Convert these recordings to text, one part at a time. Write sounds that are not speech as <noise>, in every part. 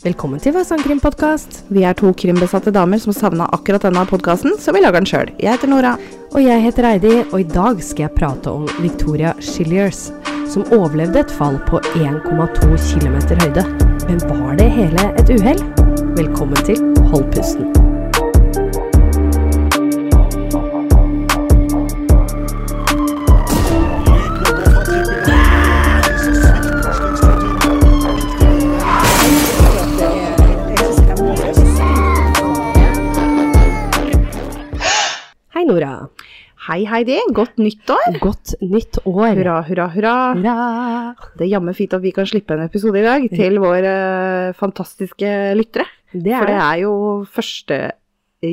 Velkommen til vår sangkrimpodkast. Vi er to krimbesatte damer som savna akkurat denne podkasten, så vi lager den sjøl. Jeg heter Nora. Og jeg heter Eidi, og i dag skal jeg prate om Victoria Shilliers, som overlevde et fall på 1,2 km høyde. Men var det hele et uhell? Velkommen til Hold pusten. Hei, Nora. Hei, Heidi. Godt nyttår. Godt nytt år. Hurra, hurra, hurra. Hurra. Det er jammen fint at vi kan slippe en episode i dag til våre eh, fantastiske lyttere. Det For er det det. er jo 1.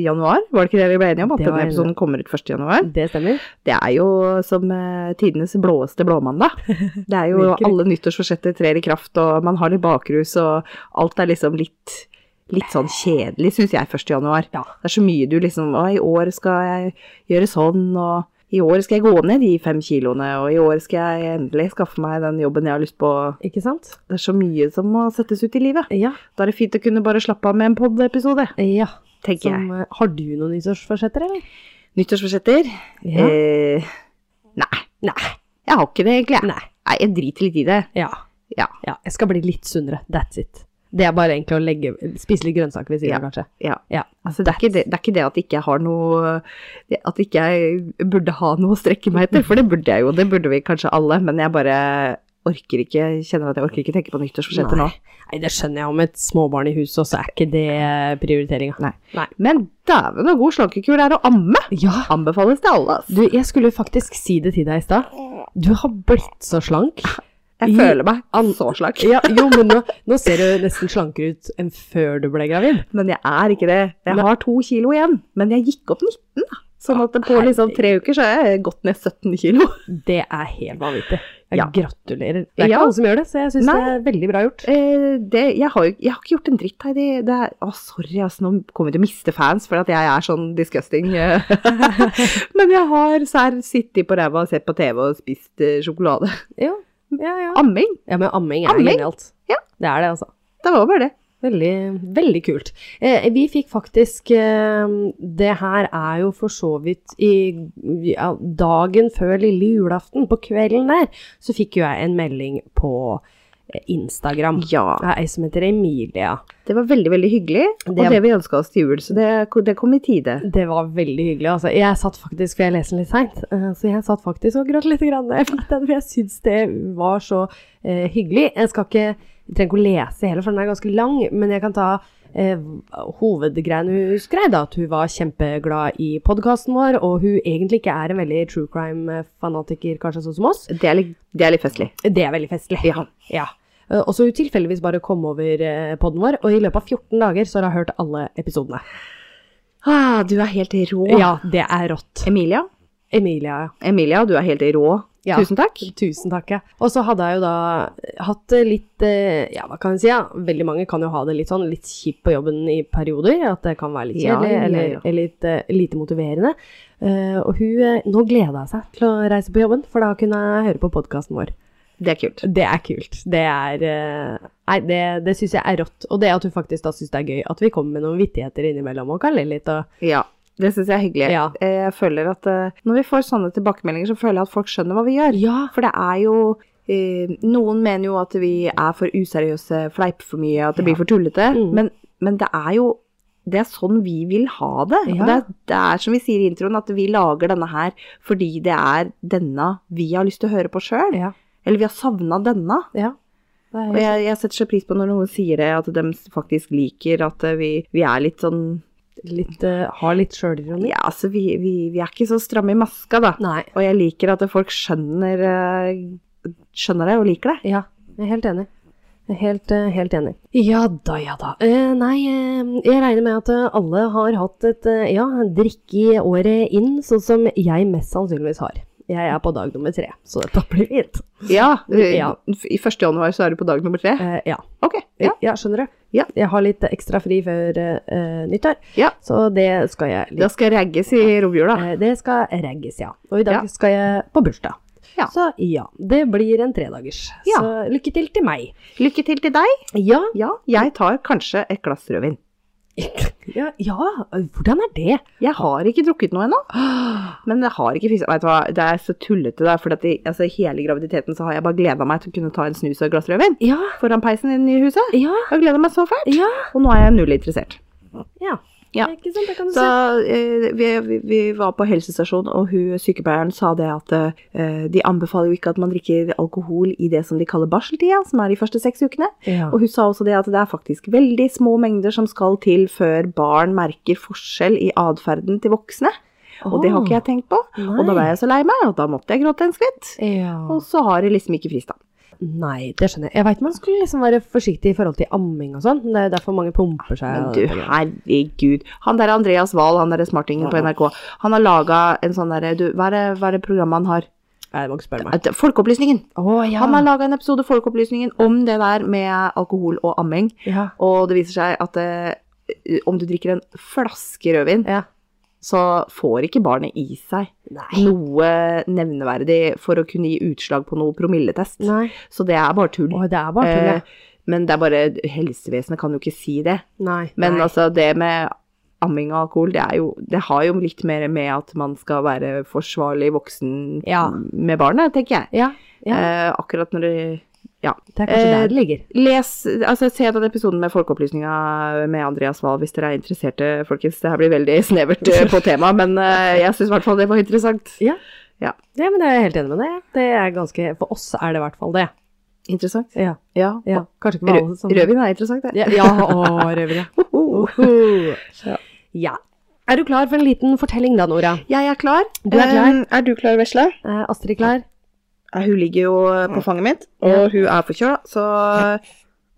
januar, var det ikke det vi ble enige om? At Det var denne en- episoden kommer ut 1. januar. Det stemmer. Det er jo som eh, tidenes blåeste <laughs> blåmandag. Det er jo Virkelig. alle nyttårsforsetter trer i kraft, og man har litt bakrus, og alt er liksom litt, litt sånn kjedelig, syns jeg, 1. januar. Ja. Det er så mye du liksom Å, i år skal jeg gjøre sånn, og i år skal jeg gå ned de fem kiloene, og i år skal jeg endelig skaffe meg den jobben jeg har lyst på. Ikke sant? Det er så mye som må settes ut i livet. Ja. Da er det fint å kunne bare slappe av med en pod-episode, ja. tenker Som, jeg. eh, har du noen nyttårsforsetter, eller? Nyttårsforsetter? Ja. Eh, nei, Nei. jeg har ikke det, egentlig. jeg. Nei. Nei, jeg driter litt i det. Ja. Ja. ja. Jeg skal bli litt sunnere. That's it. Det er bare egentlig å legge, spise litt grønnsaker ved siden av, kanskje. Ja. Ja. Altså, det, er ikke det, det er ikke det at ikke jeg har noe At ikke jeg burde ha noe å strekke meg etter, for det burde jeg jo. Det burde vi kanskje alle, men jeg bare orker ikke Kjenner at jeg orker ikke tenke på nyttårsforsetter nå. Nei, det skjønner jeg. Om et småbarn i huset, så er ikke det eh, prioriteringa. Nei. Men dæven og god slankekur det er å amme! Ja. Anbefales til alle. ass. Du, jeg skulle faktisk si det til deg i stad. Du har blitt så slank. i- Jeg føler meg så <laughs> slank. Ja, jo, men nå, nå ser du nesten slankere ut enn før du ble gravid. Men jeg er ikke det. Jeg Nei. har to kilo igjen, men jeg gikk opp 19, da. Sånn at på Å, liksom tre uker så er jeg gått ned 17 kilo. Det er helt vanvittig. Jeg Ja. Gratulerer. Det er Ja. ikke alle som gjør det, så jeg syns det Nei. er veldig bra gjort. Eh, det, jeg, har, jo- jeg har ikke gjort en dritt, Heidi. Det er, å, sorry, altså, nå kommer vi til å miste fans for at jeg er sånn disgusting. <laughs> eh. Men jeg har sær sittet på ræva og sett på TV og spist eh, sjokolade. Ja, ja, ja. Amming, ja men amming er Amming? genialt. Ja. Det er det, altså. det var bare det. Veldig, veldig kult. Eh, vi fikk faktisk eh, Det her er jo for så vidt i ja, dagen før lille julaften, på kvelden der, så fikk jo jeg en melding på eh, Instagram. Ja, Det er ei som heter Emilia. det var veldig, veldig hyggelig. Det- Og det vi ønska oss til jul, så det, det kom i tide. Det var veldig hyggelig. altså. Jeg satt faktisk, for jeg leser den litt seint, eh, så jeg satt faktisk og gråt litt grann da jeg fikk den, for jeg syns det var så eh, hyggelig. Jeg skal ikke, jeg trenger ikke å lese hele, for den er ganske lang, men jeg kan ta eh, hovedgreiene hun skrev, da, at hun var kjempeglad i podkasten vår, og hun egentlig ikke er en veldig true crime-fanatiker, kanskje sånn som oss. Det er litt, det er litt festlig. Det er veldig festlig. Ja. Ja. Eh, Og så hun tilfeldigvis bare kom over eh, podden vår, og i løpet av 14 dager så har hun hørt alle episodene. Ah, du er helt rå. Ja, det er rått. Emilia, Emilia, ja. Emilia, du er helt rå. Ja. Tusen takk. Tusen takk, ja. Og så hadde jeg jo da hatt det litt, eh, ja hva kan jeg si, ja. veldig mange kan jo ha det litt sånn, litt kjipt på jobben i perioder, at det kan være litt Ja, kjedelig, ja, ja. eller, eller litt, eh, lite motiverende. Eh, og hun, eh, nå gleder jeg seg til å reise på jobben, for da kunne jeg høre på podcasten vår. Det er kult. Det er kult. Det er, eh, nei, det, det synes jeg er rått. Og det at hun faktisk da synes det er gøy, at vi kommer med noen vittigheter innimellom, og kan le litt, og Ja, det syns jeg er hyggelig. Ja. Eh, Jeg føler at eh, når vi får sånne tilbakemeldinger, så føler jeg at folk skjønner hva vi gjør. ja, For det er jo eh, Noen mener jo at vi er for useriøse, fleiper for mye, at det blir for tullete. Mm. Men, men det er jo det er sånn vi vil ha det. Og Ja. Det, er, det er som vi sier i introen, at vi lager denne her fordi det er denne vi har lyst til å høre på sjøl. ja, Eller vi har savna denne. ja. Det Og er, jeg, jeg setter så pris på når noen sier det, at de faktisk liker at eh, vi, vi er litt sånn litt, eh, har litt sjølironi. Ja, altså, vi, vi, vi er ikke så stramme i maska, da. Nei, Og jeg liker at folk skjønner, eh, skjønner det og liker det. Ja, jeg er helt enig. Jeg er helt, eh, helt enig. Ja da, ja da. Eh, nei, eh, jeg regner med at eh, alle har hatt et eh, ja, drikke i året inn, sånn som jeg mest sannsynligvis har. Jeg er på dag nummer tre, så dette blir fint. Ja, eh, Ja. I 1. januar så er du på dag nummer tre. Eh, ja. Ok, ja. ja, skjønner du? Ja. Jeg har litt ekstra fri før eh, eh, nyttår, Ja. så det skal jeg Da skal jeg ragges i romjula. Eh, Det skal regges, ja. Og i dag Ja. skal jeg på bursdag. Ja. Så ja, det blir en tredagers. Ja. Så lykke til til meg. Lykke til til deg. Ja. Ja, jeg tar kanskje et glass rødvin. ja, ja, hvordan er det? Jeg har ikke drukket noe ennå, men jeg har ikke fisa Vet du hva, det er så tullete der, for at i- altså, hele graviditeten så har jeg bare gleda meg til å kunne ta en snus og et glass rødvin Ja, foran peisen inn i huset. ja, Jeg har gleda meg så fælt, ja. og nå er jeg null interessert. ja. Ja. Ikke sant, det kan du Så se. eh, vi, vi, vi var på helsestasjon, og hun, sykepleieren sa det at eh, de anbefaler jo ikke at man drikker alkohol i det som de kaller barseltida, som er de første seks ukene. Ja. Og hun sa også det at det er faktisk veldig små mengder som skal til før barn merker forskjell i atferden til voksne. Og det har ikke jeg tenkt på. Og da ble jeg så lei meg, og da måtte jeg gråte en skvett. ja. Og så har det liksom ikke frista. Nei, det skjønner jeg. Jeg veit man skulle liksom være forsiktig i forhold til amming og sånn. men Det er derfor mange pumper seg. Men og du, det greiene. herregud. Han der Andreas Wahl, han derre smartingen på NRK, han har laga en sånn derre Du, hva er det, hva er det programmet han har? Nei, det må ikke spørre meg. Et- Folkeopplysningen. Å ja. Han har laga en episode Folkeopplysningen om det der med alkohol og amming. ja. Og det viser seg at eh, om du drikker en flaske rødvin, Ja. så får ikke barnet i seg Nei. noe nevneverdig for å kunne gi utslag på noe promilletest. Nei. Så det er bare tull. Å, det er bare tull, ja. Eh, Men det er bare Helsevesenet kan jo ikke si det. Nei. Men nei. altså, det med amming og alkohol, det, er jo, det har jo litt mer med at man skal være forsvarlig voksen Ja. med barnet, tenker jeg. Ja, ja. Eh, akkurat når det Ja. Det er kanskje eh, der det ligger. Les, altså Se den episoden med Folkeopplysninga med Andreas Wahl hvis dere er interesserte, folkens. Det her blir veldig snevert eh, på temaet, men eh, jeg syns i hvert fall det var interessant. Ja, men jeg er helt enig med deg. Det er ganske, For oss er det i hvert fall det. Interessant? Ja, Ja. ja. Kanskje ikke for alle Rød, som rødvin er interessant, det. <laughs> Oh, Ja, ja å, rødvin, ja. Hoho. Uhu. Ja. ja. Er du klar for en liten fortelling da, Nora? Jeg er klar. Du er klar. Eh, er du klar, Vesle? Eh, Astrid klar? Ja, hun ligger jo eh, på fanget mitt, og Ja. hun er forkjøla, så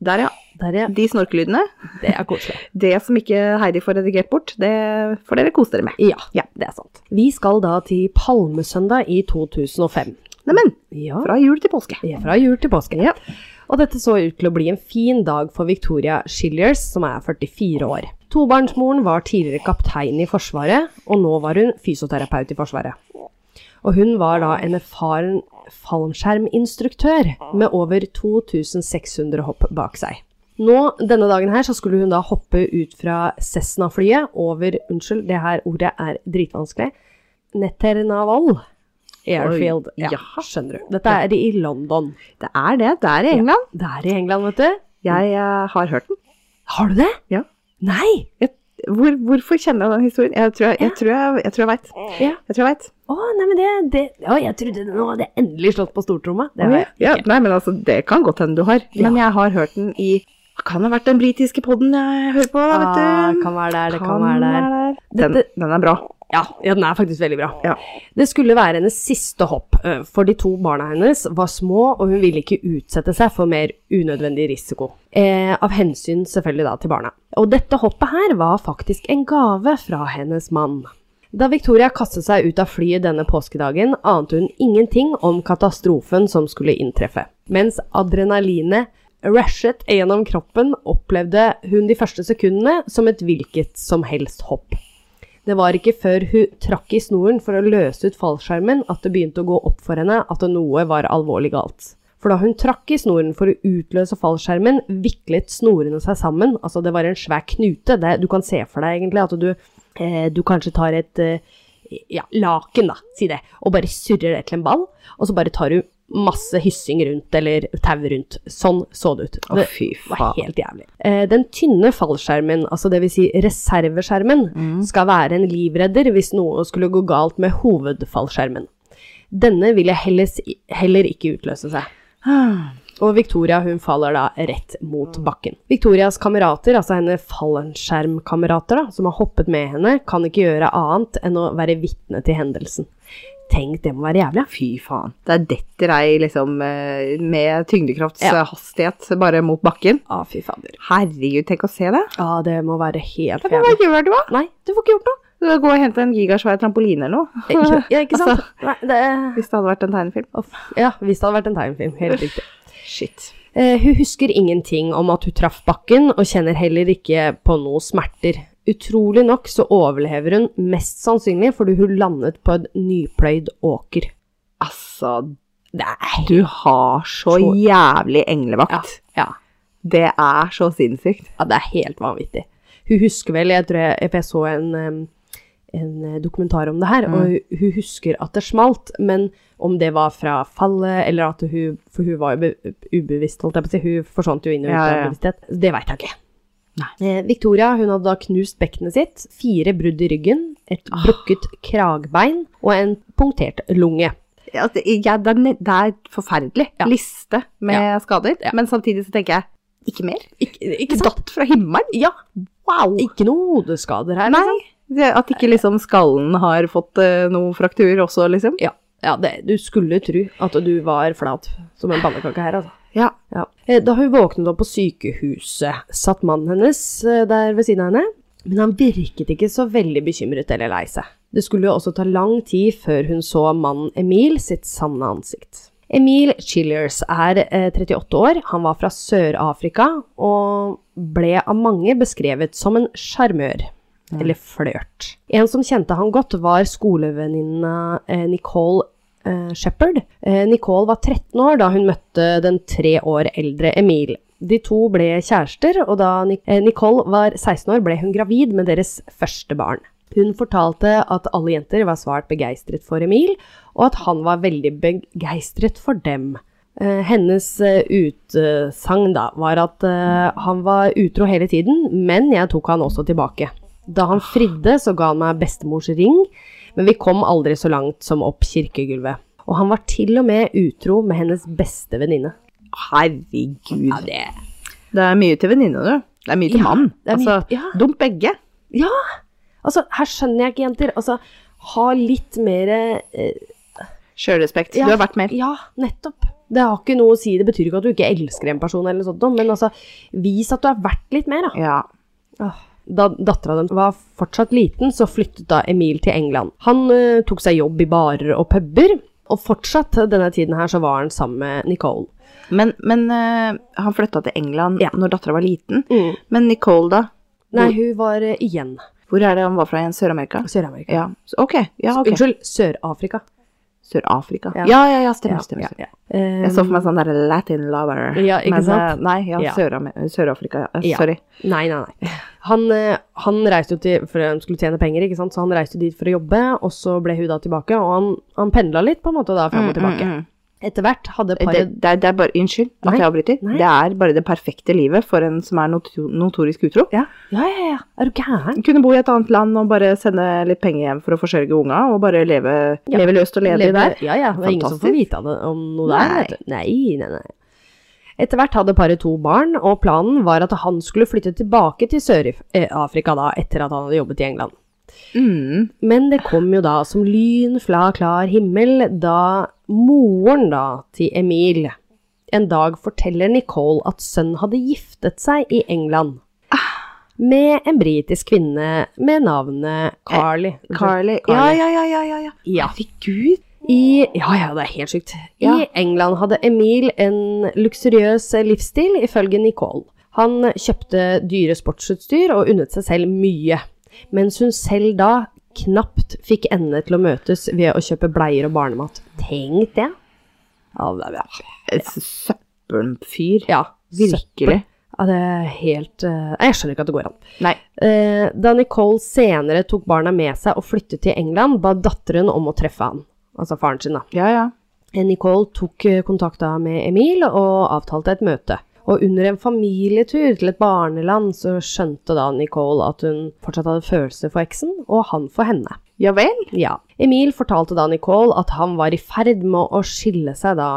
der, ja. Der, ja. De snorkelydene. Det er koselig. Det som ikke Heidi får redigert bort, det får dere kose dere med. <laughs> Ja, Ja. det er sant. Vi skal da til Palmesøndag i 2005. Neimen, Ja, fra jul til påske. Ja, fra jul til påske. Og dette så ut til å bli en fin dag for Victoria Schillers, som er 44 år. Tobarnsmoren var tidligere kaptein i Forsvaret, og nå var hun fysioterapeut i Forsvaret. Og hun var da en erfaren fallskjerminstruktør med over 2600 hopp bak seg. Nå, denne dagen her, så skulle hun da hoppe ut fra Cessna-flyet over Unnskyld, det her ordet er dritvanskelig. Netternaval Airfield. Oi, Ja, jaha. skjønner du. Dette er i London. Det er det. Det er i England. Det er i England, vet du. Jeg eh, har hørt den. Har du det? Ja. Nei! Hvor, hvorfor kjenner jeg den historien? Jeg tror jeg, jeg, tror jeg, jeg, tror jeg veit. Ja. Jeg tror jeg vet. Å, nei, men det, det Å, jeg trodde nå hadde jeg endelig slått på stortromma. Det har jeg. Ja, nei, men altså, det kan godt hende du har. Ja. Men jeg har hørt den i Kan ha vært den britiske podden jeg hører på, da, Ah, vet du. kan være der, det kan, være der. Den, Dette- den er bra. Ja, ja, den er faktisk veldig bra. Ja. Det skulle være hennes siste hopp, eh, for de to barna hennes var små, og hun ville ikke utsette seg for mer unødvendig risiko. Eh, av hensyn selvfølgelig da til barna. Og dette hoppet her var faktisk en gave fra hennes mann. Da Victoria kastet seg ut av flyet denne påskedagen, ante hun ingenting om katastrofen som skulle inntreffe. Mens adrenalinet rushet gjennom kroppen, opplevde hun de første sekundene som et hvilket som helst hopp. Det var ikke før hun trakk i snoren for å løse ut fallskjermen at det begynte å gå opp for henne at noe var alvorlig galt. For da hun trakk i snoren for å utløse fallskjermen, viklet snorene seg sammen. Altså, det var en svær knute. Det, du kan se for deg egentlig at du, eh, du kanskje tar et eh, ja, laken, da, si det, og bare surrer det til en ball, og så bare tar du masse hyssing rundt, eller tau rundt. Sånn så det ut. Å, Det- fy var faen. helt jævlig. Eh, den tynne fallskjermen, altså dvs. Si reserveskjermen, skal være en livredder hvis noe skulle gå galt med hovedfallskjermen. Denne ville heller, si- heller ikke utløse seg. Ah. Og Victoria hun faller da rett mot bakken. Victorias kamerater, altså henne fallskjermkamerater da, som har hoppet med henne, kan ikke gjøre annet enn å være vitne til hendelsen. Tenk, det må være jævlig. ja. Fy faen. Der detter ei liksom eh, med tyngdekrafts Ja. eh, hastighet bare mot bakken. Å, fy fader. Herregud, tenk å se det. Ja, det må være helt Hva fjerde. gjør du, da? Nei, du får ikke gjort noe. Du må Gå og hente en gigasvær trampoline eller noe. <laughs> Ikke, ja, ikke sant? Altså- Nei, det, Hvis det hadde vært en tegnefilm. Uff, ja, hvis det hadde vært en tegnefilm. Helt riktig. Shit. Eh, hun husker ingenting om at hun traff bakken, og kjenner heller ikke på noe smerter. Utrolig nok så overlever hun mest sannsynlig fordi hun landet på en nypløyd åker. Altså, Nei. Du har så Så- jævlig englevakt. Ja, ja. Det er så sinnssykt. Ja, det er helt vanvittig. Hun husker vel, jeg tror jeg, for jeg så en, em, en eh, dokumentar om det her, Mm. og hun- hun husker at det smalt, men om det var fra fallet, eller at hun, for hun var jo be- ubevisst, holdt jeg på å si, hun forsvant jo inn i Ja, ja, ja. bevissthet, det vet jeg ikke. Eh, Victoria hun hadde da knust bekkenet sitt, fire brudd i ryggen, et Ah. brukket kragbein og en punktert lunge. Ja, det, Altså, ja, det, er, ne- det er et forferdelig Ja. liste med Ja. skader, Ja. men samtidig så tenker jeg ikke mer. Ikke, ikke sant? Datt fra himmelen? Ja, Wow! ikke noe hodeskader her. Nei, det, at ikke liksom skallen har fått eh, noe fraktur også, liksom. Ja, ja det, du skulle tro at du var flat som en pannekake her, altså. Ja. Ja. Eh, Da hun våknet opp på sykehuset, satt mannen hennes eh, der ved siden av henne, men han virket ikke så veldig bekymret eller lei seg. Det skulle jo også ta lang tid før hun så mannen Emil sitt sanne ansikt. Emil Chillers er eh, 38 år, han var fra Sør-Afrika og ble av mange beskrevet som en sjarmør. Eller flørt. En som kjente han godt, var skolevenninna eh, Nicole eh, Shepherd. Eh, Nicole var 13 år da hun møtte den tre år eldre Emil. De to ble kjærester, og da Ni- eh, Nicole var 16 år, ble hun gravid med deres første barn. Hun fortalte at alle jenter var svært begeistret for Emil, og at han var veldig begeistret for dem. Eh, hennes eh, utsagn da var at eh, han var utro hele tiden, men jeg tok han også tilbake. Da han fridde, så ga han meg bestemors ring, men vi kom aldri så langt som opp kirkegulvet. Og han var til og med utro med hennes beste venninne. Herregud. Ja, det Det er mye til venninne, du. Det er mye til Ja, mann. det er mye- altså, ja. dump begge. Ja! Altså, her skjønner jeg ikke, jenter. Altså, ha litt mer eh, Sjølrespekt. ja, Du har vært mer. Ja, nettopp. Det har ikke noe å si. Det betyr ikke at du ikke elsker en person, eller noe sånt, noe, men altså, vis at du er verdt litt mer, da. Ja. Åh. Da dattera dem var fortsatt liten, så flyttet da Emil til England. Han eh, tok seg jobb i barer og puber, og fortsatt denne tiden her så var han sammen med Nicole. Men, men eh, han flytta til England Ja. Mm. når dattera var liten. Men Nicole, da? Nei, hun var eh, igjen Hvor er det han var fra igjen? Sør-Amerika? Sør-Amerika. Ja. Så- Ok. Ja, Ah, ok. Unnskyld, Sør-Afrika. Sør-Afrika. Ja. Ja. ja, ja, stemmer, stemmer. ja. stemmer. Eh, Jeg så for meg sånn der Latin lover. Ja, ikke men, sant? eh, Nei, ja, Ja. Sør-Am- Sør-Afrika. ja. Eh, Ja. Sorry. Nei, nei, nei. Han, eh, han reiste jo til, for han skulle tjene penger, ikke sant? så han reiste dit for å jobbe, og så ble hun da tilbake, og han, han pendla litt på en måte da, fram og tilbake. Etter hvert hadde Mm, Det, paret det, er- det er bare, Unnskyld mm, Nei. at jeg avbryter. Nei. Det er bare det perfekte livet for en som er noto notorisk utro. ja. ja, ja, ja, er du gæren? Kunne bo i et annet land og bare sende litt penger hjem for å forsørge unga, og bare leve, Ja. leve løst og ledig Levde- der. Ja, ja. Det er ingen som får Fantastisk. vite av det, om noe der. Nei. Vet du. Nei, nei, nei. Etter hvert hadde paret to barn, og planen var at han skulle flytte tilbake til Sør-Afrika da, etter at han hadde jobbet i England. Mm. Men det kom jo da som lyn fra klar himmel da moren da til Emil en dag forteller Nicole at sønnen hadde giftet seg i England Ah. med en britisk kvinne med navnet Carly. Eh, Carly. Ja, Carly. ja, ja, ja, ja, ja. Ja. Herregud. I, ja, ja, det er helt sykt. I Ja. England hadde Emil en luksuriøs livsstil, ifølge Nicole. Han kjøpte dyre sportsutstyr og unnet seg selv mye, mens hun selv da knapt fikk endene til å møtes ved å kjøpe bleier og barnemat. Tenk det. Ja, det er bra. Et søppelfyr. Ja, Virkelig. søppel. Ja, det er helt eh, Jeg skjønner ikke at det går an. Nei. Eh, da Nicole senere tok barna med seg og flyttet til England, ba datteren om å treffe han. Altså faren sin, da. Ja, ja. Nicole tok eh, kontakt da med Emil og avtalte et møte. Og under en familietur til et barneland så skjønte da Nicole at hun fortsatt hadde følelser for eksen, og han for henne. Ja vel? Ja. Emil fortalte da Nicole at han var i ferd med å skille seg da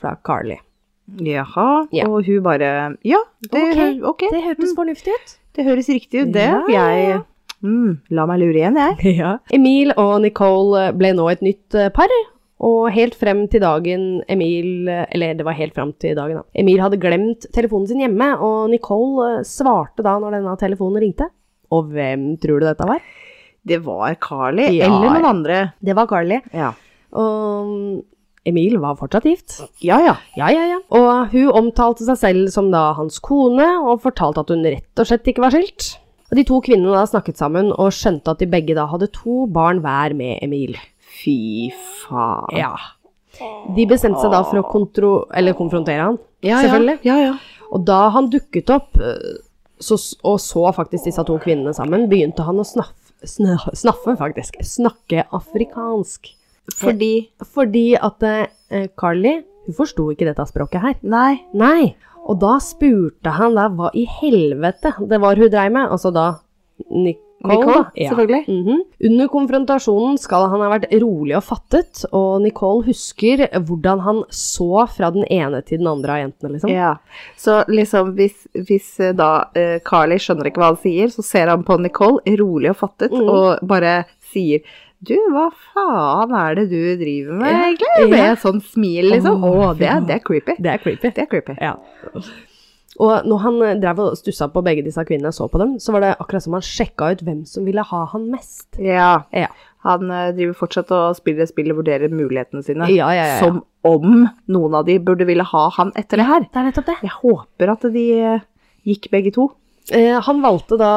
fra Carly. Jaha. Ja. Og hun bare Ja, Ok, det, Mm. hø- ok. Det hørtes fornuftig ut. det høres riktig ut, det. Ja, ja, ja. Jeg mm, La meg lure igjen, <laughs> jeg. Emil og Nicole ble nå et nytt eh, par, og helt frem til dagen Emil Eller det var helt frem til dagen, da. Emil hadde glemt telefonen sin hjemme, og Nicole eh, svarte da når denne telefonen ringte. Og hvem tror du dette var? Det var Carly. Ja. Eller noen andre. Det var Carly. Ja. Og mm, Emil var fortsatt gift. ja, ja. Ja, ja, ja. Og hun omtalte seg selv som da hans kone, og fortalte at hun rett og slett ikke var skilt. Og De to kvinnene da snakket sammen og skjønte at de begge da hadde to barn hver med Emil. Fy faen. Ja. De bestemte seg da for å kontro eller konfrontere han. Ja, Selvfølgelig. Ja, ja. Og da han dukket opp eh, så, og så faktisk disse to kvinnene sammen, begynte han å snaff, snø, snaffe, faktisk. Snakke afrikansk. Fordi Fordi at eh, Carly, hun forsto ikke dette språket her. Nei. Nei. Og da spurte han da hva i helvete det var hun dreiv med. Altså da Nicole, Nicole, da. Ja. selvfølgelig. Mhm. Under konfrontasjonen skal han ha vært rolig og fattet, og Nicole husker hvordan han så fra den ene til den andre av jentene, liksom. Ja. Så liksom hvis, hvis eh, da eh, Carly skjønner ikke hva han sier, så ser han på Nicole, rolig og fattet, Mhm. og bare sier du, hva faen er det du driver med, Ja. egentlig? Med Ja. et sånt smil, liksom. Å, Åh, det, er- ja. det er creepy. Det er creepy. Det er creepy. Ja. Og når han eh, drev og stussa på begge disse kvinnene og så på dem, så var det akkurat som han sjekka ut hvem som ville ha han mest. Ja. Ja. Han eh, driver fortsatt og spiller et spill og vurderer mulighetene sine. Ja, ja, ja, ja. Som om noen av de burde ville ha han etter det her. Det er nettopp det. Jeg håper at de eh, gikk begge to. Eh, han valgte da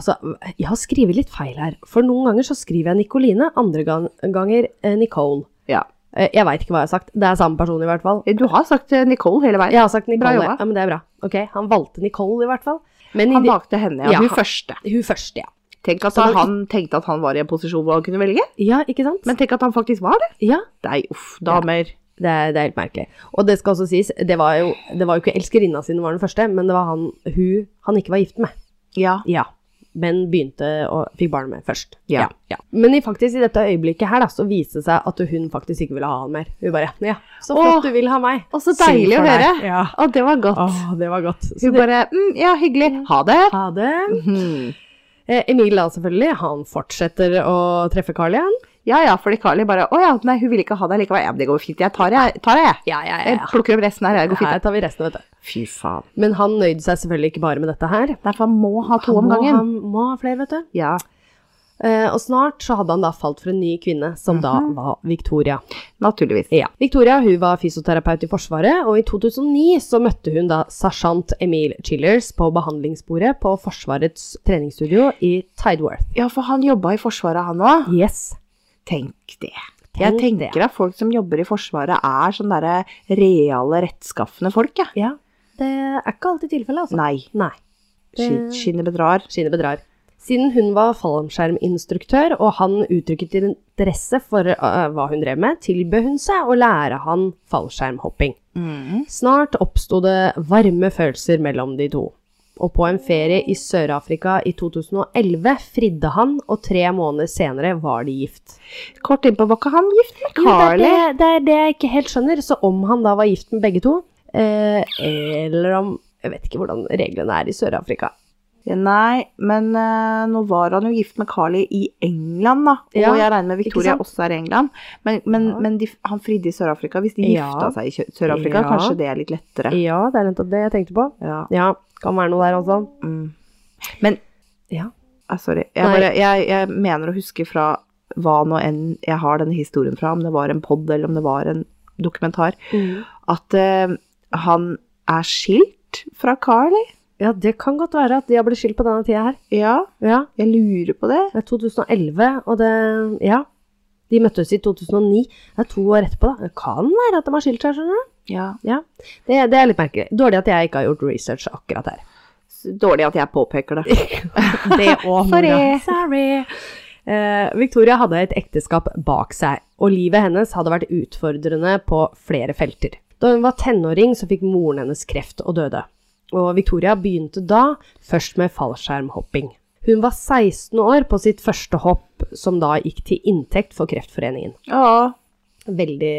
Altså, jeg har skrevet litt feil her. For noen ganger så skriver jeg Nicoline, andre gang, ganger eh, Nicole. Ja. Eh, jeg veit ikke hva jeg har sagt. Det er samme person, i hvert fall. Du har sagt eh, Nicole hele veien. Jeg har sagt Nicole. jobba. ja, men det er bra. Ok, Han valgte Nicole, i hvert fall. Men i Han de, valgte henne, ja. Ja, Hun han- første. hun første, ja. Tenk at Så han, han- tenkte at han var i en posisjon hvor han kunne velge, Ja, ikke sant? men tenk at han faktisk var det. ja, Nei, uff, damer. det er, det er helt merkelig. Og det skal også sies, det var jo, det var jo ikke elskerinna sin var den første, men det var han hun han ikke var gift med. Ja. Ja. Men begynte og fikk barn med først. Ja. Men i, faktisk i dette øyeblikket her da, så viste det seg at hun faktisk ikke ville ha han mer. Hun bare ja, så flott Åh, du vil ha meg. Og så Synd deilig å for deg. høre. Ja. Å, det var godt. Åh, det var godt. Så Hun det, bare mm, Ja, hyggelig. Ha det. ha det. Mhm. Eh, Emil da selvfølgelig, han fortsetter å treffe Carl igjen. Ja ja, fordi Carly bare Å ja, nei, hun ville ikke ha deg likevel. Ja, men det går fint. Jeg tar det, jeg. Tar det, jeg. Ja, ja, Jeg plukker opp resten her. Jeg går fint. Eh, Her tar vi resten, vet du. Fy faen. Men han nøyde seg selvfølgelig ikke bare med dette her. Derfor han må ha to Han om må, gangen. han må ha flere, vet du. Ja. Eh, og snart så hadde han da falt for en ny kvinne, som Mhm. da var Victoria. Naturligvis. Ja. Victoria hun var fysioterapeut i Forsvaret, og i 2009 så møtte hun da sersjant Emil Chillers på behandlingsbordet på Forsvarets treningsstudio i Tideworth. Ja, for han jobba i Forsvaret, han òg. Yes. Tenk det. Jeg Tenk tenker at folk som jobber i Forsvaret, er sånn derre reale, rettskafne folk, jeg. Ja, det er ikke alltid tilfellet, altså. Nei. Nei. Skin- Skinnet bedrar. Skinnet bedrar. Siden hun var fallskjerminstruktør, og han uttrykket interesse for eh, hva hun drev med, tilbød hun seg å lære han fallskjermhopping. Mm. Snart oppsto det varme følelser mellom de to. Og på en ferie i Sør-Afrika i 2011 fridde han, og tre måneder senere var de gift. Kort innpå var ikke han gift med Jo, det, er Carly? det, det er det jeg ikke helt skjønner. Så om han da var gift med begge to, eh, eller om Jeg vet ikke hvordan reglene er i Sør-Afrika. Nei, men eh, nå var han jo gift med Carly i England, da. Og Ja, jeg regner med Victoria ikke sant? også er i England. Men, men, Ja. men de, han fridde i Sør-Afrika. Hvis de Ja. gifta seg i Kjø- Sør-Afrika, Ja. kanskje det er litt lettere. Ja, det er nettopp det jeg tenkte på. Ja. Ja, kan være noe der, altså. Mm. Men Ja. ah, Sorry. Jeg, Nei. bare, jeg, jeg mener å huske fra hva nå enn jeg har denne historien fra, om det var en pod eller om det var en dokumentar, Mm. at eh, han er skilt fra Carly. Ja, det kan godt være at de har blitt skilt på denne tida her. Ja, Ja, jeg lurer på det. Det er 2011, og det Ja. De møttes i 2009. Det er to år etterpå, da. Det kan være at de har skilt seg, skjønner du. Ja. Ja. Det, det er litt merkelig. Dårlig at jeg ikke har gjort research akkurat her. S- Dårlig at jeg <laughs> påpeker det. Det og <laughs> Sorry. mora. Sorry. Eh, Victoria hadde et ekteskap bak seg, og livet hennes hadde vært utfordrende på flere felter. Da hun var tenåring, så fikk moren hennes kreft og døde. Og Victoria begynte da først med fallskjermhopping. Hun var 16 år på sitt første hopp, som da gikk til inntekt for Kreftforeningen. Ja, Veldig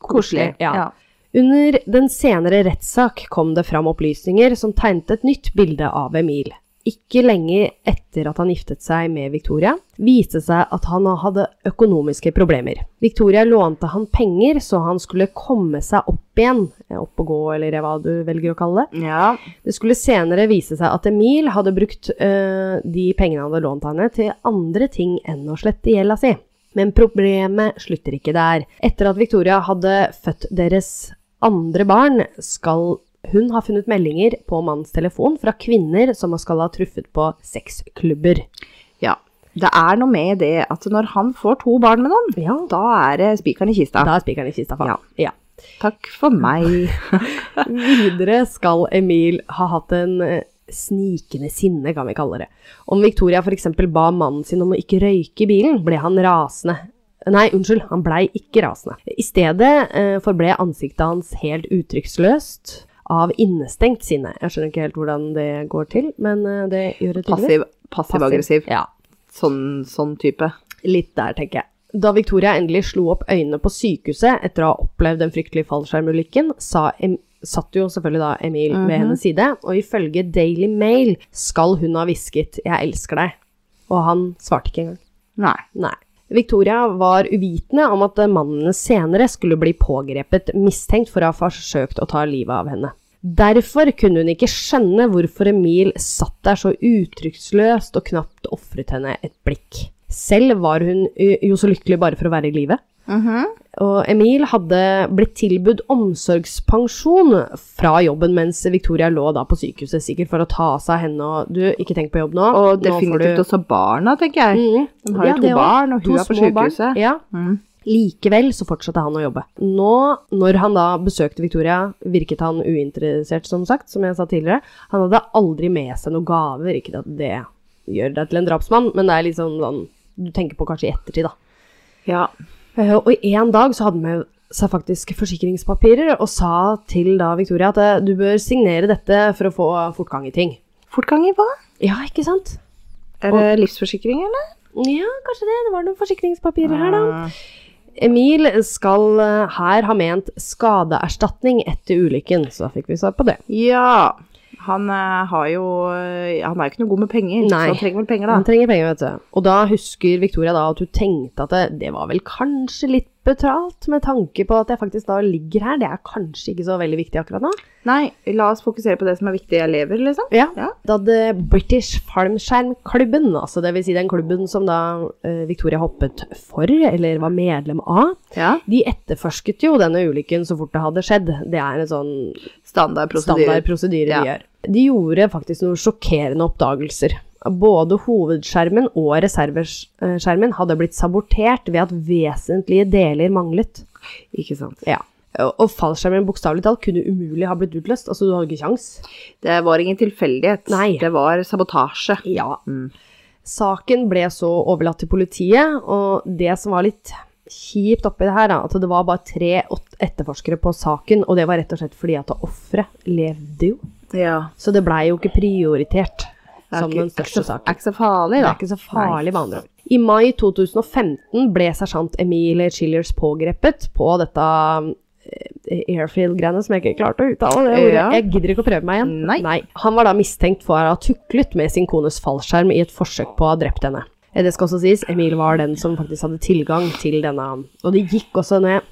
koselig. Ja. Under den senere rettssak kom det fram opplysninger som tegnet et nytt bilde av Emil. Ikke lenge etter at han giftet seg med Victoria, viste det seg at han hadde økonomiske problemer. Victoria lånte han penger så han skulle komme seg opp igjen, eh, opp og gå eller hva du velger å kalle det. Ja. Det skulle senere vise seg at Emil hadde brukt øh, de pengene han hadde lånt henne, til andre ting enn å slette gjelda si. Men problemet slutter ikke der. Etter at Victoria hadde født deres andre barn, skal hun ha funnet meldinger på mannens telefon fra kvinner som skal ha truffet på sexklubber. ja. Det er noe med det at når han får to barn med noen, Ja, da er det spikeren i kista. da er spikeren i kista faen. Ja. Takk for meg. Videre skal Emil ha hatt en eh, snikende sinne, kan vi kalle det. Om Victoria f.eks. ba mannen sin om å ikke røyke i bilen, ble han rasende. Nei, unnskyld, han blei ikke rasende. I stedet eh, forble ansiktet hans helt uttrykksløst av innestengt sinne. Jeg skjønner ikke helt hvordan det går til, men eh, det gjør det <laughs> tydeligvis. Passiv, passiv aggressiv. Ja, Sånn, sånn type. Litt der, tenker jeg. Da Victoria endelig slo opp øynene på sykehuset etter å ha opplevd den fryktelige fallskjermulykken, sa em satt jo selvfølgelig da Emil ved hennes side, og ifølge Daily Mail skal hun ha hvisket 'Jeg elsker deg', og han svarte ikke engang. Nei. Nei. Victoria var uvitende om at mannen senere skulle bli pågrepet mistenkt for å ha forsøkt å ta livet av henne. Derfor kunne hun ikke skjønne hvorfor Emil satt der så uttrykksløst og knapt ofret henne et blikk. Selv var hun ø, jo så lykkelig bare for å være i live. Mhm. Og Emil hadde blitt tilbudt omsorgspensjon fra jobben mens Victoria lå da på sykehuset, sikkert for å ta seg av henne og Du, ikke tenk på jobb nå. Og nå får du definitivt også barna, tenker jeg. Mm. De har jo to det også. barn, og hun er på små barn. sykehuset. Mm. Ja. Likevel så fortsatte han å jobbe. Nå, når han da besøkte Victoria, virket han uinteressert, som sagt, som jeg sa tidligere. Han hadde aldri med seg noen gaver, ikke at det gjør deg til en drapsmann, men det er liksom sånn du tenker på kanskje i ettertid, da. Ja. Eh, Og en dag så hadde han med seg faktisk forsikringspapirer og sa til da Victoria at eh, du bør signere dette for å få fortgang i ting. Fortgang i hva? Ja, ikke sant? Er det livsforsikring, eller? Ja, kanskje det. Det var noen forsikringspapirer her, da. Ah. Emil skal eh, her ha ment skadeerstatning etter ulykken, så da fikk vi svar på det. Ja. Han eh, har jo eh, Han er jo ikke noe god med Nei. penger, så han trenger vel penger, Han da. trenger penger, vet du. Og da husker Victoria da at hun tenkte at det, det var vel kanskje litt betalt, med tanke på at jeg faktisk da ligger her. Det er kanskje ikke så veldig viktig akkurat nå. Nei, la oss fokusere på det som er viktig. Jeg lever, liksom. Ja. Da hadde British Farmskjermklubben, altså det vil si den klubben som da eh, Victoria hoppet for, eller var medlem av, Ja. de etterforsket jo denne ulykken så fort det hadde skjedd. Det er en sånn Standard prosedyre. standard prosedyre Ja. de gjør. De gjorde faktisk noen sjokkerende oppdagelser. Både hovedskjermen og reserveskjermen hadde blitt sabotert ved at vesentlige deler manglet. Ikke sant. Ja. Og fallskjermen bokstavelig talt kunne umulig ha blitt utløst. Altså, du hadde ikke kjangs. Det var ingen tilfeldighet. Nei. Det var sabotasje. Mm. Ja. Saken ble så overlatt til politiet, og det som var litt kjipt oppi det her, da, at det var bare tre åt- etterforskere på saken, og det var rett og slett fordi at offeret levde jo. Ja. Så det blei jo ikke prioritert Det er som ikke- den største er ikke så- saken. Er ikke så farlig, Det da. er ikke så farlig, med andre ord. I mai 2015 ble sersjant Emil Chillers pågrepet på dette eh, airfield-greiene som jeg ikke klarte å uttale. Det ordet. Ja. Jeg gidder ikke å prøve meg igjen. Nei. Han var da mistenkt for å ha tuklet med sin kones fallskjerm i et forsøk på å ha drept henne. Eh, Det skal også sies, Emil var den som faktisk hadde tilgang til denne. Og det gikk også ned.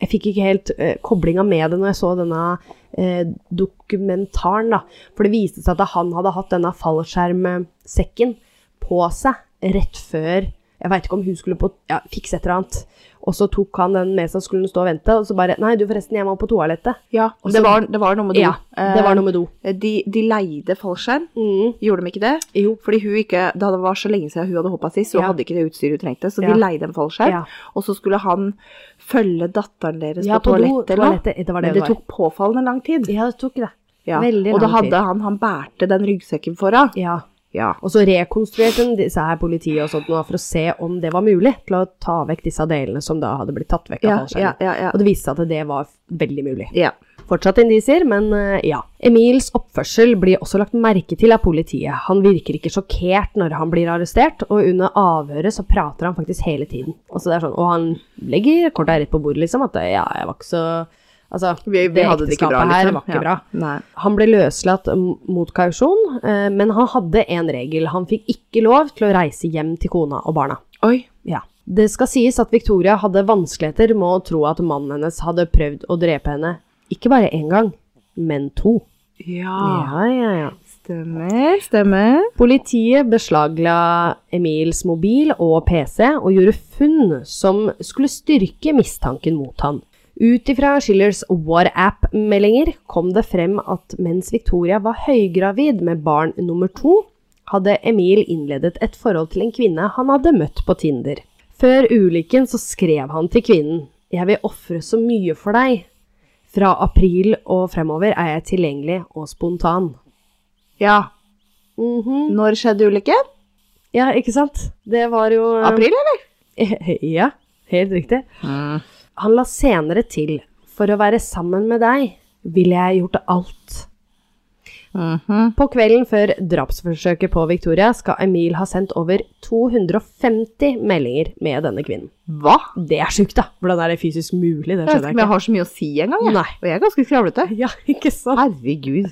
Jeg fikk ikke helt eh, koblinga med det når jeg så denne eh, dokumentaren, da. For det viste seg at han hadde hatt denne fallskjermsekken på seg rett før Jeg veit ikke om hun skulle på, ja, fikse et eller annet. Og så tok han den med seg og skulle den stå og vente, og så bare Nei, du, forresten, jeg må på toalettet. Ja, Og det så- var, det var noe med do. Ja, det var noe med do. Eh, De, de leide fallskjerm. Mm. Gjorde de ikke det? Jo. Fordi hun ikke, da det var så lenge siden hun hadde hoppa sist, så Ja. hadde ikke det utstyret hun trengte, så de Ja. leide en fallskjerm. Ja. Og så skulle han følge datteren deres Ja, på på, do- toalettet, eller noe. toalettet, det var det Men det det var. tok påfallende lang tid. Ja, det tok det. Ja. Veldig Og da lang tid. hadde han, han bærte den ryggsekken foran. Ja. Ja. Og så rekonstruerte hun disse her politiet og sånt nå for å se om det var mulig til å ta vekk disse delene som da hadde blitt tatt vekk av Ja, ja, fallskjermen. ja, ja. Og det viste seg at det var veldig mulig. ja. Fortsatt indisier, men eh, ja. Emils oppførsel blir også lagt merke til av politiet. Han virker ikke sjokkert når han blir arrestert, og under avhøret så prater han faktisk hele tiden. Altså, det er sånn, og han legger korta rett på bordet, liksom, at ja, jeg var ikke så Altså, Vi- vi det hadde det ikke ekteskapet bra, her liksom. var ikke Ja. bra. Nei. Han ble løslatt eh, mot kausjon, eh, men han hadde en regel. Han fikk ikke lov til å reise hjem til kona og barna. Oi. Ja. Det skal sies at Victoria hadde vanskeligheter med å tro at mannen hennes hadde prøvd å drepe henne, ikke bare én gang, men to. Ja. ja, ja. Stemmer, stemmer. Politiet beslagla Emils mobil og PC og gjorde funn som skulle styrke mistanken mot han. Ut ifra Schillers War-app-meldinger kom det frem at mens Victoria var høygravid med barn nummer to, hadde Emil innledet et forhold til en kvinne han hadde møtt på Tinder. Før ulykken så skrev han til kvinnen «Jeg vil offre så mye for deg. Fra april og fremover er jeg tilgjengelig og spontan». Ja. Mhm. Når skjedde ulykken? Ja, ikke sant? Det var jo eh, April, eller? <laughs> Ja, helt riktig. Mm, Han la senere til For å være sammen med deg ville jeg gjort alt. Mhm. På kvelden før drapsforsøket på Victoria skal Emil ha sendt over 250 meldinger med denne kvinnen. Hva? Det er sjukt, da! Hvordan er det fysisk mulig? Det Jeg vet skjønner jeg ikke om jeg ikke. har så mye å si engang. jeg. Nei. Og jeg er ganske skravlete. Ja, <laughs> ikke sant? Herregud.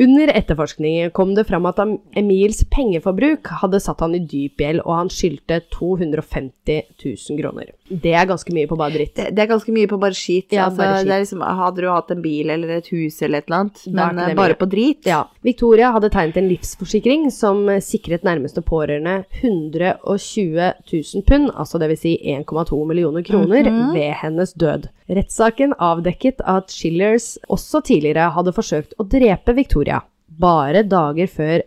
Under etterforskningen kom det fram at Am- Emils pengeforbruk hadde satt han i dyp gjeld, og han skyldte 250 000 kroner. Det er ganske mye på bare dritt. Det, det er ganske mye på bare skit. Ja, altså, bare skit. Det er liksom, hadde du hatt en bil eller et hus eller et eller annet, Da er men ikke det eh, bare mye. på drit. Ja. Victoria hadde tegnet en livsforsikring som eh, sikret nærmeste pårørende 120 000 pund, altså dvs. Si 1,2 millioner kroner, Mhm. ved hennes død. Rettssaken avdekket at Schillers også tidligere hadde forsøkt å drepe Victoria, bare dager før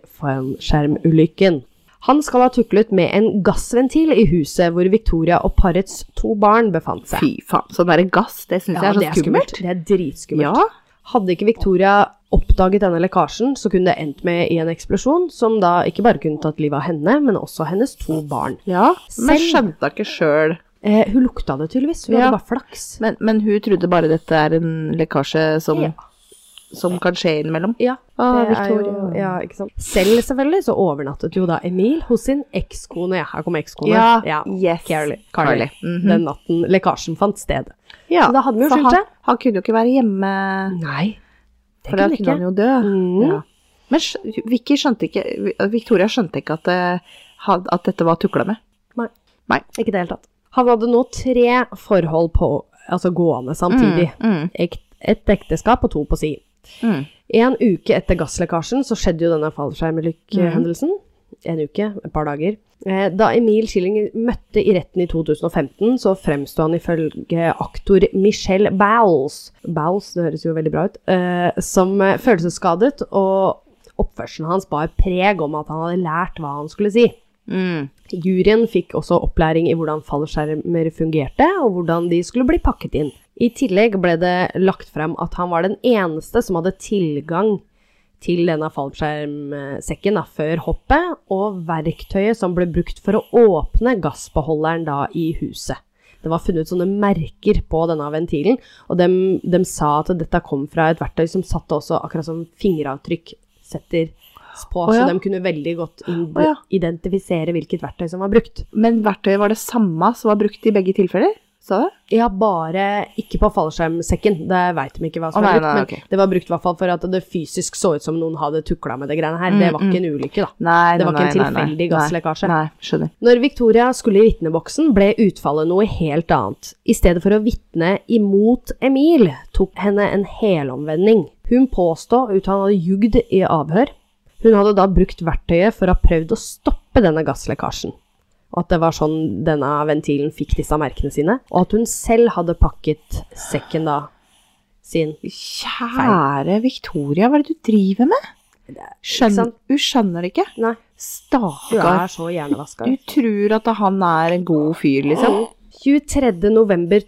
fallskjermulykken. Han skal ha tuklet med en gassventil i huset hvor Victoria og parets to barn befant seg. Fy faen. Sånn derre gass, det syns jeg er så skummelt. Det er dritskummelt. Ja. Hadde ikke Victoria oppdaget denne lekkasjen, så kunne det endt med i en eksplosjon, som da ikke bare kunne tatt livet av henne, men også hennes to barn. ja. Men Selv- skjønte ikke sjøl. Eh, hun lukta det tydeligvis, hun Ja. hadde bare flaks. Men, men hun trodde bare dette er en lekkasje som, Ja. som kan skje innimellom. Ja, Ah, det er jo, Victoria. ja, ikke sant. Selv selvfølgelig så overnattet jo da Emil hos sin ekskone, ja, her kom ekskone, Ja, yes. Carly, Carly. Mhm. den natten lekkasjen fant sted. Ja, Så da hadde vi jo for skjønt han, det. han kunne jo ikke være hjemme, Nei, det for da kunne kunne ikke. han jo dø. Mhm. Ja. Men skj- Vicky skjønte ikke, Victoria skjønte ikke at, eh, had- at dette var tukla med. Nei. Nei. Ikke det hele tatt. Han hadde nå tre forhold på, altså gående samtidig. Mm, Ek- Et ekteskap og to på si. mm. En uke etter gasslekkasjen så skjedde jo denne fallskjermlykkehendelsen. En uke, et par dager. Eh, Da Emil Schilling møtte i retten i 2015, så fremsto han ifølge aktor Michelle Bowles Bowles, det høres jo veldig bra ut. eh, Som eh, følelsesskadet, og oppførselen hans bar preg om at han hadde lært hva han skulle si. Mm. Juryen fikk også opplæring i hvordan fallskjermer fungerte, og hvordan de skulle bli pakket inn. I tillegg ble det lagt frem at han var den eneste som hadde tilgang til denne fallskjermsekken da, før hoppet, og verktøyet som ble brukt for å åpne gassbeholderen da i huset. Det var funnet sånne merker på denne ventilen, og de, sa at dette kom fra et verktøy som satte også akkurat som fingeravtrykk setter på, Å ja. så de kunne veldig godt inn, Å ja. identifisere hvilket verktøy som var brukt. Men verktøyet var det samme som var brukt i begge tilfeller? Sa du? Ja, bare ikke på fallskjermsekken. Det veit de ikke hva som Å, var nei, brukt. nei, Men ok. det var brukt i hvert fall for at det fysisk så ut som noen hadde tukla med det greiene her. Mm, det var ikke en ulykke, da. Det Nei, var ikke nei, en nei, nei, tilfeldig nei. gasslekkasje. Nei, skjønner. Når Victoria skulle i vitneboksen, ble utfallet noe helt annet. I stedet for å vitne imot Emil, tok henne en helomvending. Hun påstod at han hadde jugd i avhør. Hun hadde da brukt verktøyet for å ha prøvd å stoppe denne gasslekkasjen. Og at det var sånn denne ventilen fikk disse merkene sine. Og at hun selv hadde pakket sekken da sin. Kjære Victoria, hva er det du driver med? Skjønner, sant? hun skjønner det ikke. Nei, hun Stakkar. er så hjernevaska. Du tror at han er en god fyr, liksom. 23. november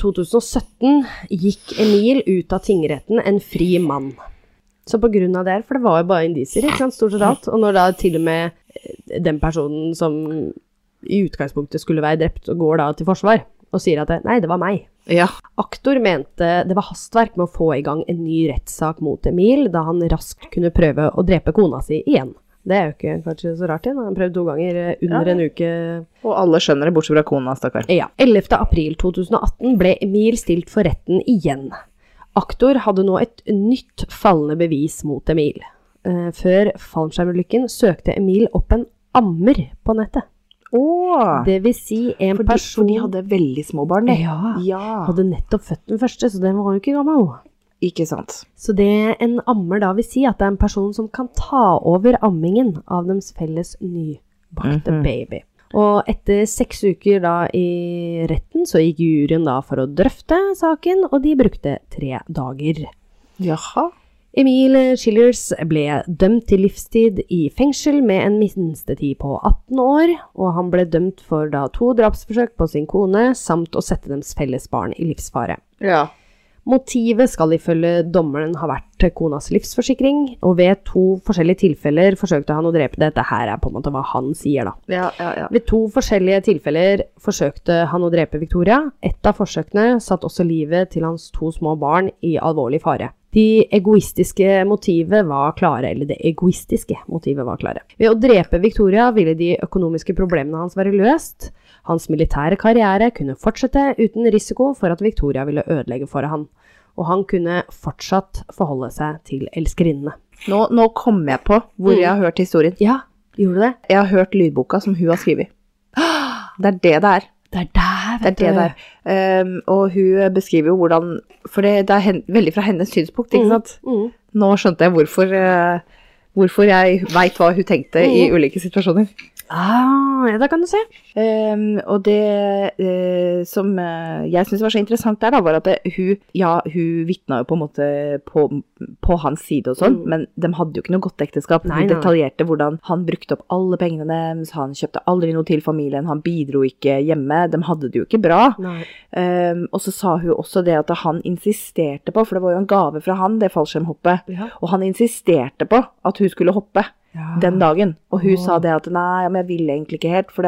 2017 gikk Emil ut av tingretten en fri mann. Så på grunn av det her, for det var jo bare indisier, ikke sant, stort sett alt, og når da til og med eh, den personen som i utgangspunktet skulle være drept, går da til forsvar og sier at nei, det var meg. Ja. Aktor mente det var hastverk med å få i gang en ny rettssak mot Emil, da han raskt kunne prøve å drepe kona si igjen. Det er jo ikke kanskje så rart igjen, han har prøvd to ganger eh, under Ja. en uke Og alle skjønner det, bortsett fra kona, stakkar. ja. 11. april 2018 ble Emil stilt for retten igjen. Aktor hadde nå et nytt fallende bevis mot Emil. Eh, før fallskjermulykken søkte Emil opp en ammer på nettet. Åh! Det vil si en For de, person for de hadde veldig små barn, de. ja, Ja. hadde nettopp født den første, så den var jo ikke gammel. Ikke sant. Så det en ammer da vil si, at det er en person som kan ta over ammingen av deres felles nybakte Mhm. baby. Og etter seks uker da i retten, så gikk juryen da for å drøfte saken, og de brukte tre dager. Jaha. Emil Chillers ble dømt til livstid i fengsel med en minstetid på 18 år, og han ble dømt for da to drapsforsøk på sin kone, samt å sette deres felles barn i livsfare. Ja. Motivet skal ifølge dommeren ha vært konas livsforsikring, og ved to forskjellige tilfeller forsøkte han å drepe det. Dette her er på en måte hva han sier, da. Ja, ja, ja. Ved to forskjellige tilfeller forsøkte han å drepe Victoria. Et av forsøkene satt også livet til hans to små barn i alvorlig fare. De egoistiske motivet var klare, eller det egoistiske motivet var klare. Ved å drepe Victoria ville de økonomiske problemene hans være løst. Hans militære karriere kunne fortsette uten risiko for at Victoria ville ødelegge for han. Og han kunne fortsatt forholde seg til elskerinnene. Nå, nå kom jeg på hvor jeg har hørt historien. Ja, gjorde du det? Jeg har hørt lydboka som hun har <gasps> skrevet. Det er det det er. Det er der, Det er det det er. Ehm, og hun beskriver jo hvordan For det, det er hen, veldig fra hennes synspunkt, ikke sant? Mm. Nå skjønte jeg hvorfor, eh, hvorfor jeg veit hva hun tenkte i ulike situasjoner. Ah, ja, da kan du se. Ehm, og det eh, som eh, jeg syns var så interessant der, da, var at det, hun Ja, hun vitna jo på en måte på, på hans side og sånn, Mm. men de hadde jo ikke noe godt ekteskap. Nei, hun nei. detaljerte hvordan han brukte opp alle pengene deres, han kjøpte aldri noe til familien, han bidro ikke hjemme. De hadde det jo ikke bra. Nei. Ehm, og så sa hun også det at han insisterte på, for det var jo en gave fra han, det fallskjermhoppet. Ja. Og han insisterte på at hun skulle hoppe den Ah. dagen. Og hun Åh. sa det at nei, ja, men jeg ville egentlig ikke helt, for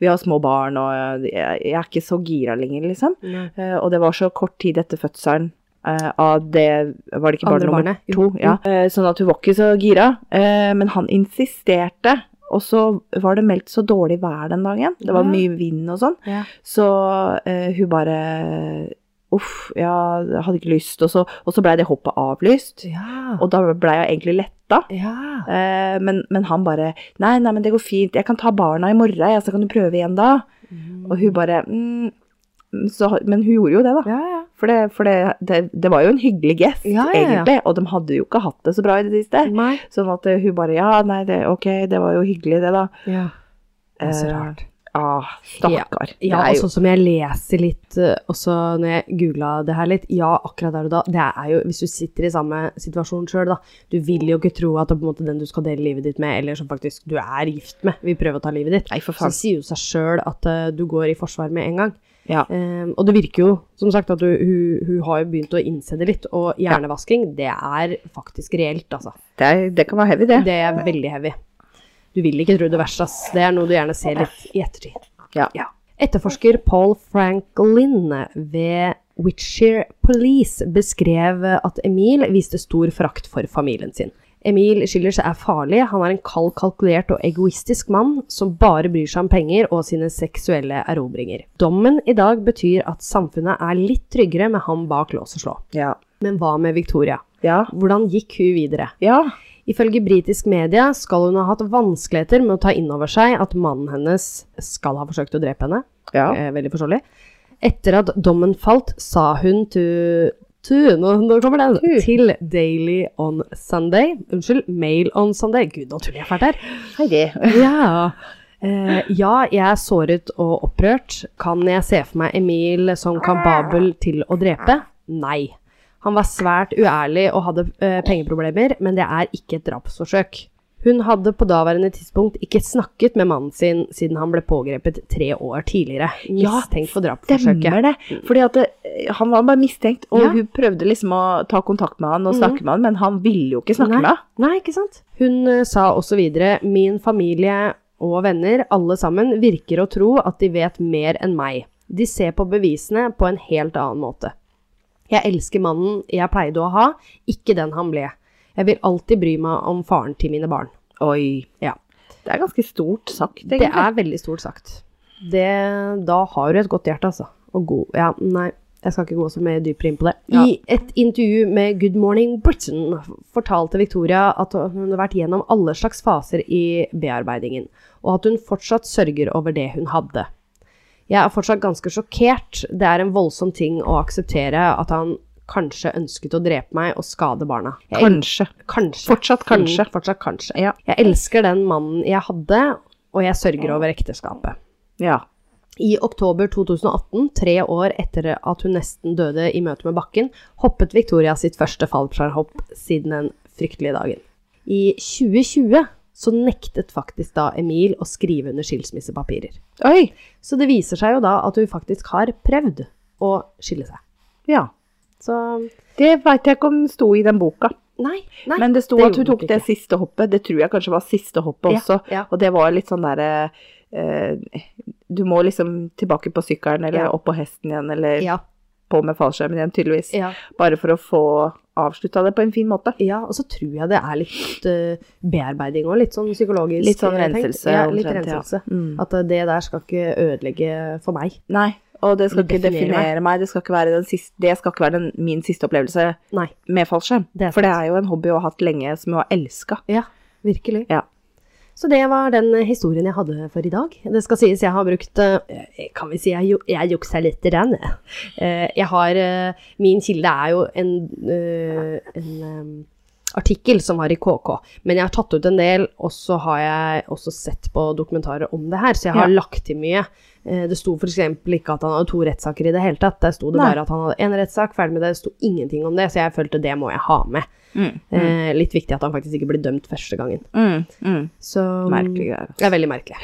vi har små barn, og eh, jeg, jeg er ikke så gira lenger, liksom. Nei. Eh, og det var så kort tid etter fødselen eh, av det Var det ikke barn Andre nummer barnet, jo. Mm. to? Ja. Eh, sånn at hun var ikke så gira. Eh, men han insisterte. Og så var det meldt så dårlig vær den dagen. Det var Ja. mye vind og sånn. Mm, Ja. Så eh, hun bare Uff, ja, jeg hadde ikke lyst. Og så, og så blei det hoppet avlyst. Ja. Og da blei jeg egentlig letta. ja. Eh, men, men han bare Nei, nei, men det går fint. Jeg kan ta barna i morgen, ja, så kan du prøve igjen da. Og hun bare mm, så, Men hun gjorde jo det, da. Ja, ja. For, det, for det, det, det var jo en hyggelig gest, Ja, ja, ja. egentlig. Og de hadde jo ikke hatt det så bra i det siste. Nei. Sånn at eh, hun bare Ja, nei, det, ok, det var jo hyggelig, det, da. Ja. Det er så Eh, rart. Ah, stakkar. Ja, Det er og jo- sånn som jeg leser litt eh, også når jeg googla det her litt, ja, akkurat der og da, det er jo hvis du sitter i samme situasjon sjøl, da. Du vil jo ikke tro at det er på en måte den du skal dele livet ditt med, eller som faktisk du er gift med, vil prøve å ta livet ditt. Nei, Så for faen. det sier jo seg sjøl at eh, du går i forsvar med en gang. Ja. Eh, og det virker jo, som sagt, at du, hun, hun har jo begynt å innse det litt. Og hjernevasking, det er faktisk reelt, altså. Det, er, det kan være heavy, det. Det er veldig heavy. Du vil ikke tro det verste, ass. Det er noe du gjerne ser litt i ettertid. Ja. Etterforsker Paul Franklin ved Witcher Police beskrev at Emil viste stor frakt for familien sin. Emil Schillers er farlig, han er en kald, kalkulert og egoistisk mann som bare bryr seg om penger og sine seksuelle erobringer. Dommen i dag betyr at samfunnet er litt tryggere med ham bak lås og slå. Ja. Men hva med Victoria? Ja. Hvordan gikk hun videre? ja. Ifølge britisk media skal hun ha hatt vanskeligheter med å ta inn over seg at mannen hennes skal ha forsøkt å drepe henne. ja. Eh, veldig forståelig. Etter at dommen falt, sa hun til til- nå, nå kommer den. Til. Til Daily on Sunday. Unnskyld, Mail on Sunday. Gud, nå tuller jeg fælt her. Hei, det. <laughs> Ja. Eh, ja, jeg er såret og opprørt. Kan jeg se for meg Emil som kapabel til å drepe? Nei. Han var svært uærlig og hadde eh, pengeproblemer, men det er ikke et drapsforsøk. Hun hadde på daværende tidspunkt ikke snakket med mannen sin siden han ble pågrepet tre år tidligere, Ja, mistenkt for drapsforsøket. Stemmer det. Fordi at det, han var bare mistenkt, og Ja. hun prøvde liksom å ta kontakt med han og Mhm. snakke med han, men han ville jo ikke snakke Nei. med han. Nei, ikke sant? Hun eh, sa også videre Min familie og venner, alle sammen, virker å tro at de vet mer enn meg. De ser på bevisene på en helt annen måte. Jeg elsker mannen jeg pleide å ha, ikke den han ble. Jeg vil alltid bry meg om faren til mine barn. Oi. Ja. Det er ganske stort sagt, egentlig. Det er veldig stort sagt. Det, da har du et godt hjerte, altså. Og god Ja, nei. Jeg skal ikke gå så mye dypere inn på det. Ja. I et intervju med Good Morning Britain fortalte Victoria at hun hadde vært gjennom alle slags faser i bearbeidingen, og at hun fortsatt sørger over det hun hadde. Jeg er fortsatt ganske sjokkert. Det er en voldsom ting å akseptere at han kanskje ønsket å drepe meg og skade barna. Jeg, Kanskje. kanskje. Fortsatt kanskje. Mm, fortsatt kanskje. Ja. Jeg elsker den mannen jeg hadde, og jeg sørger over ekteskapet. Ja. I oktober 2018, tre år etter at hun nesten døde i møte med bakken, hoppet Victoria sitt første fallskjermhopp siden den fryktelige dagen. I 2020 så nektet faktisk da Emil å skrive under skilsmissepapirer. Oi! Så det viser seg jo da at hun faktisk har prøvd å skille seg. Ja. Så Det veit jeg ikke om sto i den boka. nei, nei. Men det sto det at hun gjorde tok det det siste hoppet. Det tror jeg kanskje var siste hoppet Ja, også. ja. Og det var litt sånn derre eh, Du må liksom tilbake på sykkelen, eller Ja. opp på hesten igjen, eller ja, på med fallskjermen igjen, tydeligvis. ja. Bare for å få avslutta det på en fin måte. Ja, og så tror jeg det er litt eh, bearbeiding og litt sånn psykologisk. Litt sånn eh, tenkt. renselse. Ja, litt omtrent, ja. renselse. Mm. At eh, det der skal ikke ødelegge for meg. Nei, og det skal Eller ikke definere definere meg. Det skal ikke være, den siste, det skal ikke være den, min siste opplevelse Nei. med fallskjerm. Det er For det er jo en hobby jeg har hatt lenge, som jeg har elska. Ja, virkelig. Ja. Så det var den historien jeg hadde for i dag. Det skal sies jeg har brukt eh, Kan vi si jeg, ju- jeg juksa litt i den? jeg. Eh, Jeg har eh, Min kilde er jo en, eh, en eh, artikkel som var i KK, men jeg har tatt ut en del, og så har jeg også sett på dokumentarer om det her, så jeg har Ja. lagt til mye. Eh, Det sto f.eks. ikke at han hadde to rettssaker i det hele tatt. Der sto det Nei. bare at han hadde én rettssak, ferdig med det. Det sto ingenting om det, så jeg følte det må jeg ha med. Eh, litt viktig at han faktisk ikke ble dømt første gangen. Mm, mm. Så Merkelig greier. Det er veldig merkelig.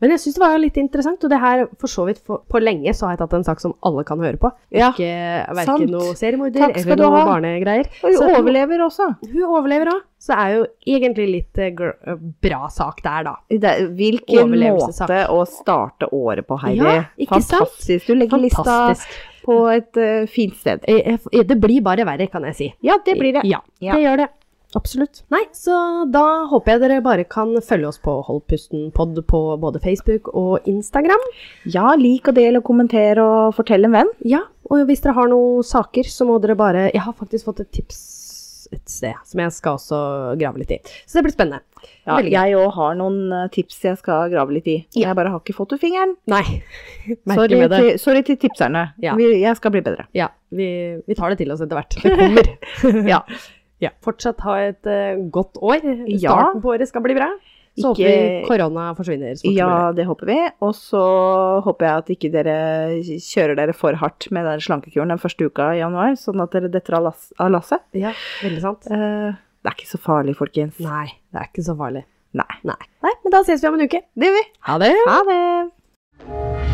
Men jeg syns det var litt interessant, og det her for så vidt for, på lenge så har jeg tatt en sak som alle kan høre på. Ja, Ikke sant. verken noe seriemorder Takk skal eller du noe ha. barnegreier. Og hun Så hun, overlever også. hun overlever òg, så det er jo egentlig litt eh, gr eh, bra sak der, da. Det, er- hvilken Overlevelsessak. måte å starte året på, Heidi. Ja, ikke sant? Fantastisk. Du legger Fantastisk. lista på et eh, fint sted. Eh, eh, f- eh, Det blir bare verre, kan jeg si. Ja, det blir det. Ja, Ja. det gjør det. Absolutt. Nei, så da håper jeg dere bare kan følge oss på Holdpusten-pod på både Facebook og Instagram. Ja, lik og del og kommenter og fortell en venn. Ja, og hvis dere har noen saker, så må dere bare Jeg har faktisk fått et tips et sted som jeg skal også grave litt i. Så det blir spennende. Ja, Veldig gøy. jeg òg har noen eh, tips jeg skal grave litt i. Ja. Jeg bare har ikke fått ut fingeren. Nei. <laughs> Merker Sorry med det. til, sorry til tipserne. Ja. Vi, jeg skal bli bedre. Ja, vi, vi tar det til oss etter hvert. Det kommer. <laughs> Ja. ja. Fortsatt ha et eh, godt år. Ja. Starten på året skal bli bra. Så håper vi Ikke- korona forsvinner. så fort som mulig. Ja, det håper vi. Og så håper jeg at ikke dere kjører dere for hardt med den slankekuren den første uka i januar, sånn at dere detter av lass- av lasset. ja, veldig sant. Eh, det er ikke så farlig, folkens. Nei, det er ikke så farlig. Nei. Nei. Nei, men da ses vi om en uke. Det gjør vi. Ha det! Ha det!